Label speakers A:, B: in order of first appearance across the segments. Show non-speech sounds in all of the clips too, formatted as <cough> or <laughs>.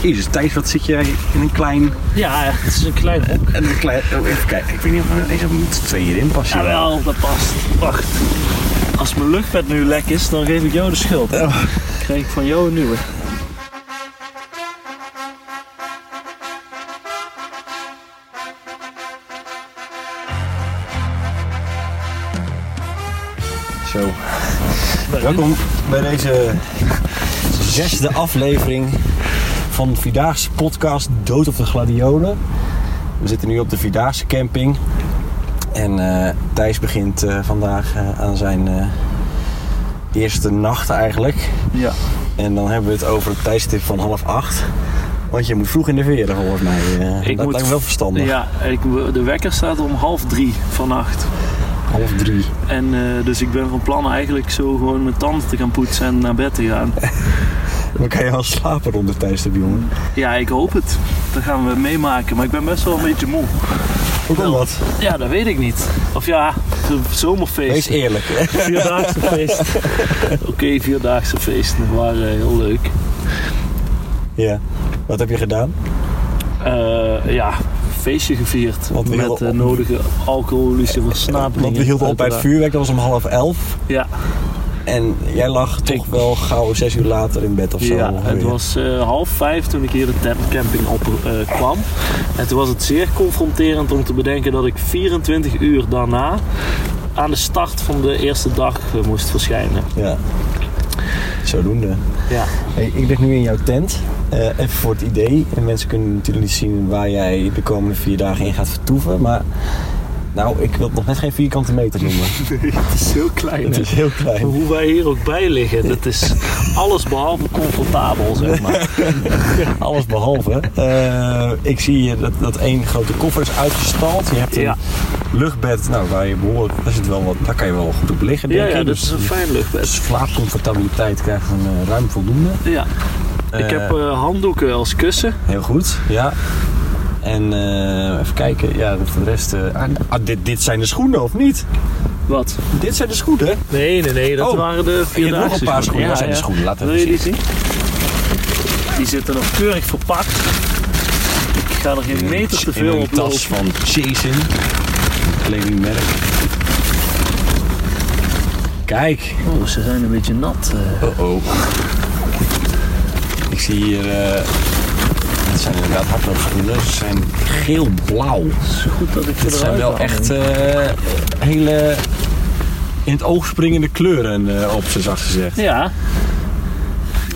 A: Jezus, Thijs, wat zit jij in een klein...
B: Ja, het is een klein hok.
A: In een klein oh, even kijken, ik weet niet of er deze moet twee hierin passen.
B: Jawel, Nou, dat past. Wacht. Als mijn luchtpet nu lek is, dan geef ik jou de schuld. Dan
A: Oh,
B: krijg ik van jou een nieuwe.
A: Zo. Welkom bij deze <laughs> zesde aflevering van de Vierdaagse podcast Dood op de Gladiolen. We zitten nu op de Vierdaagse camping. En eh, Thijs begint eh, vandaag eh, aan zijn eh, eerste nacht eigenlijk.
B: Ja.
A: En dan hebben we het over een tijdstip van half acht. Want je moet vroeg in de veren volgens mij. eh. dat lijkt me wel verstandig.
B: Ja, ik, de wekker staat om half drie vannacht.
A: Half drie.
B: En eh, dus ik ben van plan eigenlijk zo gewoon mijn tanden te gaan poetsen en naar bed te
A: <laughs>
B: gaan.
A: Dan kan je al slapen rond de tijdstip, jongen.
B: Ja, ik hoop het. Dat gaan we meemaken. Maar ik ben best wel een beetje moe.
A: Hoe kan dat?
B: Ja, dat weet ik niet. Of ja, zo'n zomerfeest.
A: Wees eerlijk. hè.
B: Vierdaagse feest.
A: <laughs>
B: Oké, vierdaagse feesten waren heel leuk.
A: Ja. Wat heb je gedaan?
B: Eh, ja, feestje gevierd.
A: Want we
B: met
A: hielden op-
B: de
A: Eh,
B: nodige alcoholische versnaperingen.
A: Want we hielden op bij het
B: uiteraard.
A: vuurwerk, dat was om half elf.
B: Ja,
A: En jij lag toch wel gauw zes uur later in bed of zo.
B: ja het
A: ongeveer.
B: was eh, half vijf toen ik hier de tentcamping op eh, kwam. En toen was het zeer confronterend om te bedenken dat ik 24 uur daarna aan de start van de eerste dag eh, moest verschijnen.
A: Ja. Zodoende.
B: Ja.
A: Hey, ik lig nu in jouw tent. Eh, even voor het idee. En mensen kunnen natuurlijk niet zien waar jij de komende vier dagen in gaat vertoeven. Maar nou, ik wil het nog net geen vierkante meter
B: <laughs>
A: noemen.
B: Het is heel klein.
A: Het
B: hè?
A: is heel klein.
B: Hoe wij hier ook bij liggen, dat is alles behalve comfortabel, zeg maar.
A: Alles behalve. Eh, ik zie hier dat, dat één grote koffer is uitgestald. Je hebt een
B: Ja.
A: luchtbed. Nou, waar je behoorlijk... Daar, zit wel wat, daar kan je wel goed op liggen, denk
B: Ja,
A: ik.
B: ja, dat
A: Dus
B: is een
A: je
B: fijn luchtbed.
A: slaapcomfortabiliteit krijgt een eh, ruim voldoende.
B: Ja.
A: Eh,
B: Ik heb eh, handdoeken als kussen.
A: Heel goed, ja. En eh, even kijken, ja, dat de rest... eh, ah, ah, dit, dit zijn de schoenen, of niet?
B: Wat?
A: Dit zijn de schoenen.
B: Nee, nee, nee. Dat
A: Oh,
B: waren de
A: Je hebt nog
B: vierdaagse
A: een paar schoenen. dat zijn de schoenen, laat
B: Wil
A: even
B: je die
A: zien.
B: zien? Die zitten nog keurig verpakt. Ik ga er geen meter te veel
A: In een
B: op lopen.
A: tas van Jason. Een Kledingmerk. Kijk.
B: Oh, ze zijn een beetje nat. eh.
A: Oh-oh. Oh, Ik zie hier... eh het zijn inderdaad hardloopschoenen. Ze zijn geel-blauw.
B: Het is goed dat ik ze
A: Dit zijn
B: eruit
A: wel
B: haal.
A: echt eh, hele in het oog springende kleuren eh, op zijn zacht gezegd.
B: Ja.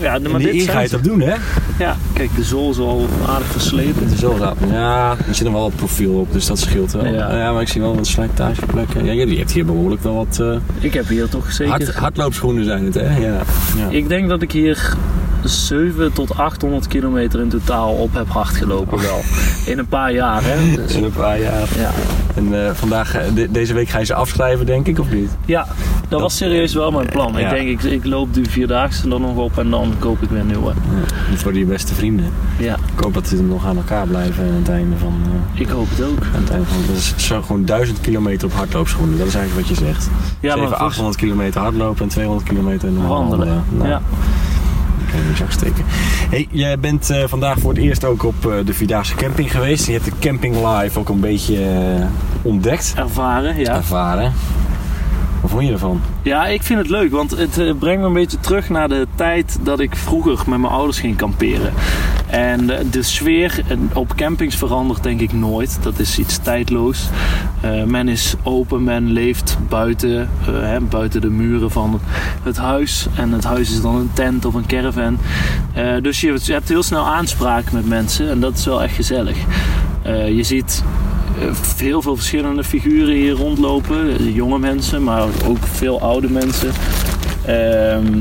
B: Ja,
A: En
B: maar
A: die
B: dit
A: eer ga
B: zijn
A: je
B: ze.
A: dat doen, hè?
B: Ja, kijk, de zool is al aardig versleten.
A: Zo raar. Ja, er zit nog wel wat profiel op, dus dat scheelt wel.
B: Ja.
A: Ja, maar ik zie wel wat slijtageplekken. Ja, je hebt hier behoorlijk wel wat eh,
B: Ik heb hier toch zeker...
A: hard, hardloopschoenen zijn het, hè? Ja. ja.
B: Ik denk dat ik hier 700 tot 800 kilometer in totaal op heb hardgelopen wel. In een paar jaar,
A: <laughs>
B: hè. Dus,
A: In een paar jaar.
B: ja.
A: En eh, vandaag, eh, de- deze week ga je ze afschrijven, denk ik, of niet?
B: ja, dat was serieus wel mijn plan. Ik
A: Ja.
B: denk, ik, ik loop die vierdaagse er nog op en dan koop ik weer een nieuwe.
A: Voor je beste vrienden.
B: Ja,
A: Ik hoop dat ze nog aan elkaar blijven aan het einde van. eh,
B: ik hoop het ook.
A: Aan het einde van, dat is zo gewoon 1000 kilometer op hardloopschoenen. Dat is eigenlijk wat je zegt.
B: Ja,
A: Even
B: maar voor
A: 800 kilometer hardlopen en 200 kilometer normaal
B: wandelen.
A: Nou,
B: Ja.
A: dat kan je niet zag steken. Hey, jij bent eh, vandaag voor het eerst ook op eh, de Vierdaagse camping geweest. Je hebt de camping live ook een beetje eh, ontdekt,
B: Ervaren, ja.
A: ervaren. Wat vond je ervan?
B: Ja, ik vind het leuk, want het eh, brengt me een beetje terug naar de tijd dat ik vroeger met mijn ouders ging kamperen. En eh, de sfeer eh, op campings verandert denk ik nooit. Dat is iets tijdloos. Eh, men is open, men leeft buiten, eh, hè, buiten de muren van het huis. En het huis is dan een tent of een caravan. Eh, dus je, je hebt heel snel aanspraak met mensen en dat is wel echt gezellig. Eh, je ziet eh, heel veel verschillende figuren hier rondlopen. Eh, Jonge mensen, maar ook veel oude mensen. Ehm,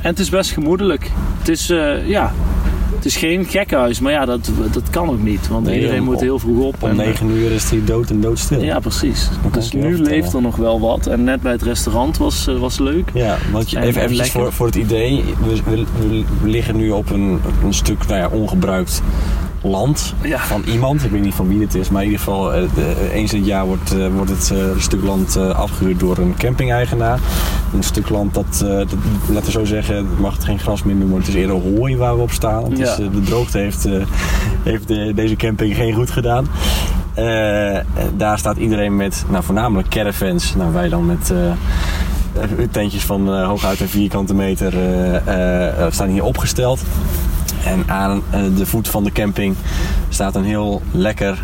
B: en het is best gemoedelijk. Het is, eh, ja, het is geen gekkenhuis, maar ja, dat, dat kan ook niet. Want
A: Nee,
B: iedereen
A: om-
B: moet heel vroeg op.
A: Om
B: en, eh,
A: 9 uur is die dood en doodstil.
B: ja, precies.
A: kan
B: Dus
A: ik je wel
B: nu
A: vertellen.
B: leeft er nog wel wat. En net bij het restaurant was, eh, was leuk.
A: Ja, want je,
B: En-
A: even,
B: en
A: eventjes
B: lekker.
A: voor, voor het idee. We, we, we liggen nu op een, een stuk nou ja, ongebruikt land
B: Ja.
A: van iemand. Ik weet niet van wie het is, maar in ieder geval eh, de- eens in het jaar wordt, eh, wordt het eh, stuk land eh, afgehuurd door een camping-eigenaar. Een stuk land dat, eh, dat, laten we zo zeggen, het mag geen gras meer noemen. Het is eerder hooi waar we op staan. Het
B: Ja.
A: is, eh, de droogte heeft, eh, heeft eh, deze camping geen goed gedaan. Eh, daar staat iedereen met, nou voornamelijk caravans. Nou, wij dan met... eh, tentjes van eh, hooguit een vierkante meter eh, eh, eh, staan hier opgesteld. En aan eh, de voet van de camping staat een heel lekker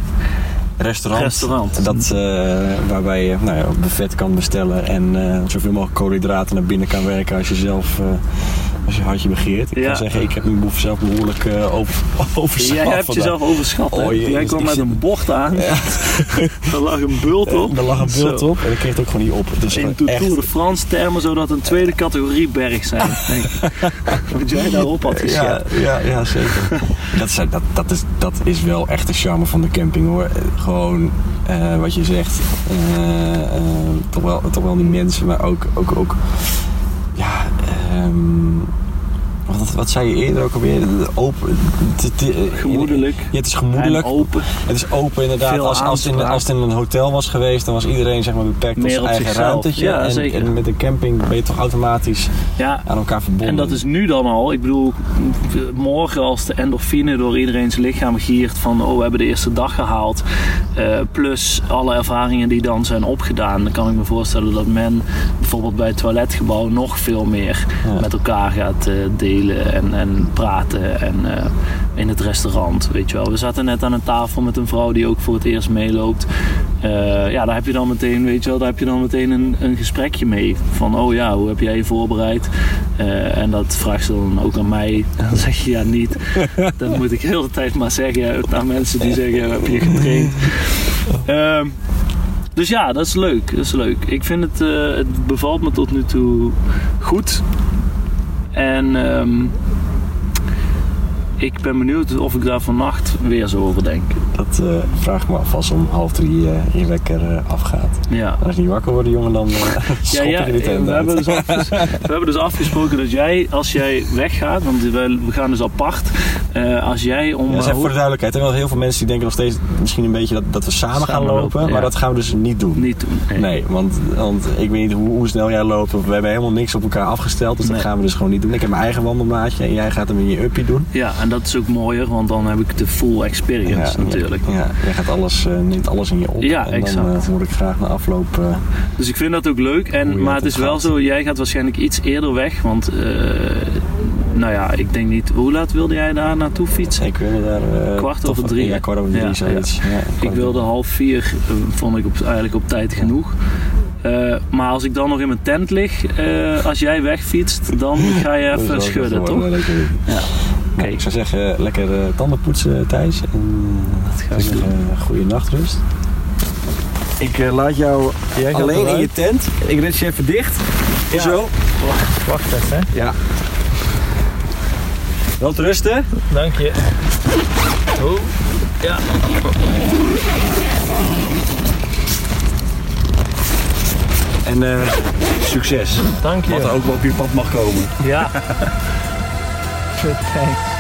A: restaurant.
B: Restaurant.
A: Dat, eh, waarbij je nou ja, een buffet kan bestellen en eh, zoveel mogelijk koolhydraten naar binnen kan werken als je zelf. eh, als je hartje begeert. Ik
B: Ja.
A: kan zeggen, ik heb mijn boef zelf behoorlijk eh over, <laughs> overschat
B: Jij hebt
A: vandaag.
B: jezelf overschat. hè?
A: Oh, jee,
B: Jij
A: ik-
B: kwam
A: ik
B: met
A: zit-
B: een bocht aan. <laughs> Daar lag een bult op.
A: Eh, Er lag een beeld
B: Zo.
A: op en ik kreeg het ook gewoon niet op. Dus
B: In de
A: gewoon echt,
B: Tour de France termen zou dat een tweede categorie berg
A: <laughs>
B: zijn. denk ik. Wat jij daarop had gezet.
A: Ja, ja, ja zeker. dat, zijn, dat, dat, is, dat is wel echt de charme van de camping hoor. Eh, Gewoon eh, wat je zegt, eh, eh, toch, wel, toch wel die mensen, maar ook. ook, ook ja, ehm, wat, wat zei je eerder ook alweer? De Open, te- te-
B: Gemoedelijk.
A: Ja, het is gemoedelijk.
B: En open.
A: Het is open inderdaad.
B: Veel
A: Als, als, het in,
B: aanspraak.
A: als het in een hotel was geweest, dan was iedereen zeg maar, beperkt tot
B: Meer
A: zijn
B: op
A: eigen
B: zichzelf.
A: ruimtetje.
B: Ja,
A: en,
B: zeker.
A: en met een camping ben je toch automatisch
B: Ja,
A: aan elkaar verbonden.
B: en dat is nu dan al. Ik bedoel, morgen als de endorfine door iedereen zijn lichaam giert van oh, we hebben de eerste dag gehaald. eh, plus alle ervaringen die dan zijn opgedaan. Dan kan ik me voorstellen dat men bijvoorbeeld bij het toiletgebouw nog veel meer
A: Ja.
B: met elkaar gaat eh, delen en, en praten. En eh, in het restaurant, weet je wel. We zaten net aan een tafel met een vrouw die ook voor het eerst meeloopt. Eh, ja, daar heb je dan meteen, weet je wel, daar heb je dan meteen een, een gesprekje mee. Van, oh ja, hoe heb jij je voorbereid? Eh, en dat vraagt ze dan ook aan mij. En <laughs> dan zeg je, ja, niet. Dat moet ik heel de tijd maar zeggen aan mensen die zeggen, heb je getraind? Ehm, dus ja, dat is leuk. Dat is leuk. Ik vind het, eh, het bevalt me tot nu toe goed. En ehm, ik ben benieuwd of ik daar vannacht weer zo over denk.
A: Dat eh, vraag ik me af als om half drie eh, je wekker eh, afgaat.
B: Ja.
A: En als je niet wakker wordt, jongen,
B: <laughs>
A: dan eh <laughs> schop ik je de tent
B: we,
A: uit.
B: hebben dus
A: <laughs>
B: afges- we hebben dus afgesproken dat jij, als jij weggaat, want we we gaan dus apart, eh, als jij om...
A: Ja, dat is
B: eh,
A: even voor de duidelijkheid. Er zijn heel veel mensen die denken nog steeds misschien een beetje dat, dat we samen,
B: Samen
A: gaan
B: lopen,
A: lopen.
B: ja.
A: Maar dat gaan we dus niet doen.
B: niet doen. Nee.
A: Nee, want, want ik weet niet hoe, hoe snel jij loopt. We hebben helemaal niks op elkaar afgesteld. Dus
B: Nee.
A: dat gaan we dus gewoon niet doen. Ik heb mijn eigen wandelmaatje en jij gaat hem in je uppie doen.
B: Ja, en dat is ook mooier, want dan heb ik de full experience natuurlijk.
A: Ja, jij gaat alles, eh, neemt alles in je op.
B: Ja,
A: en dan
B: exact.
A: eh, word ik graag na afloop. eh,
B: Dus ik vind dat ook leuk.
A: Hoe
B: En,
A: je
B: maar
A: dat
B: het is
A: ook
B: wel
A: gaat.
B: zo, jij gaat waarschijnlijk iets eerder weg, want... eh, nou ja, ik denk niet... Hoe laat wilde jij daar naartoe fietsen?
A: ik wilde daar. eh,
B: Kwart
A: toch-
B: over drie,
A: Ja,
B: hè?
A: kwart over drie
B: Ja,
A: zoiets. Ja, kwart
B: Ik
A: over
B: wilde half vier, eh, vond ik op, eigenlijk op tijd genoeg. Eh, maar als ik dan nog in mijn tent lig, eh, als jij wegfietst, dan
C: <laughs>
B: ga je
A: Dat is
B: even
A: wel
B: schudden,
A: geworden, dat
B: toch?
A: weet ik.
B: Ja.
A: Nou,
B: Oké.
A: ik zou zeggen, lekker eh, tanden poetsen, Thijs. En
B: Dat ga ik
A: zeg, eh, goede nachtrust. Ik eh, laat jou alleen in je tent. Ik red je even dicht. Zo.
C: Wacht even, hè.
A: Ja. Wel te rusten.
C: Dank
A: <laughs>
C: je.
B: Oh, ja.
A: En eh, succes.
C: Dank je.
A: <laughs> Wat er ook wel op je pad mag komen.
C: Ja. Goed, thanks.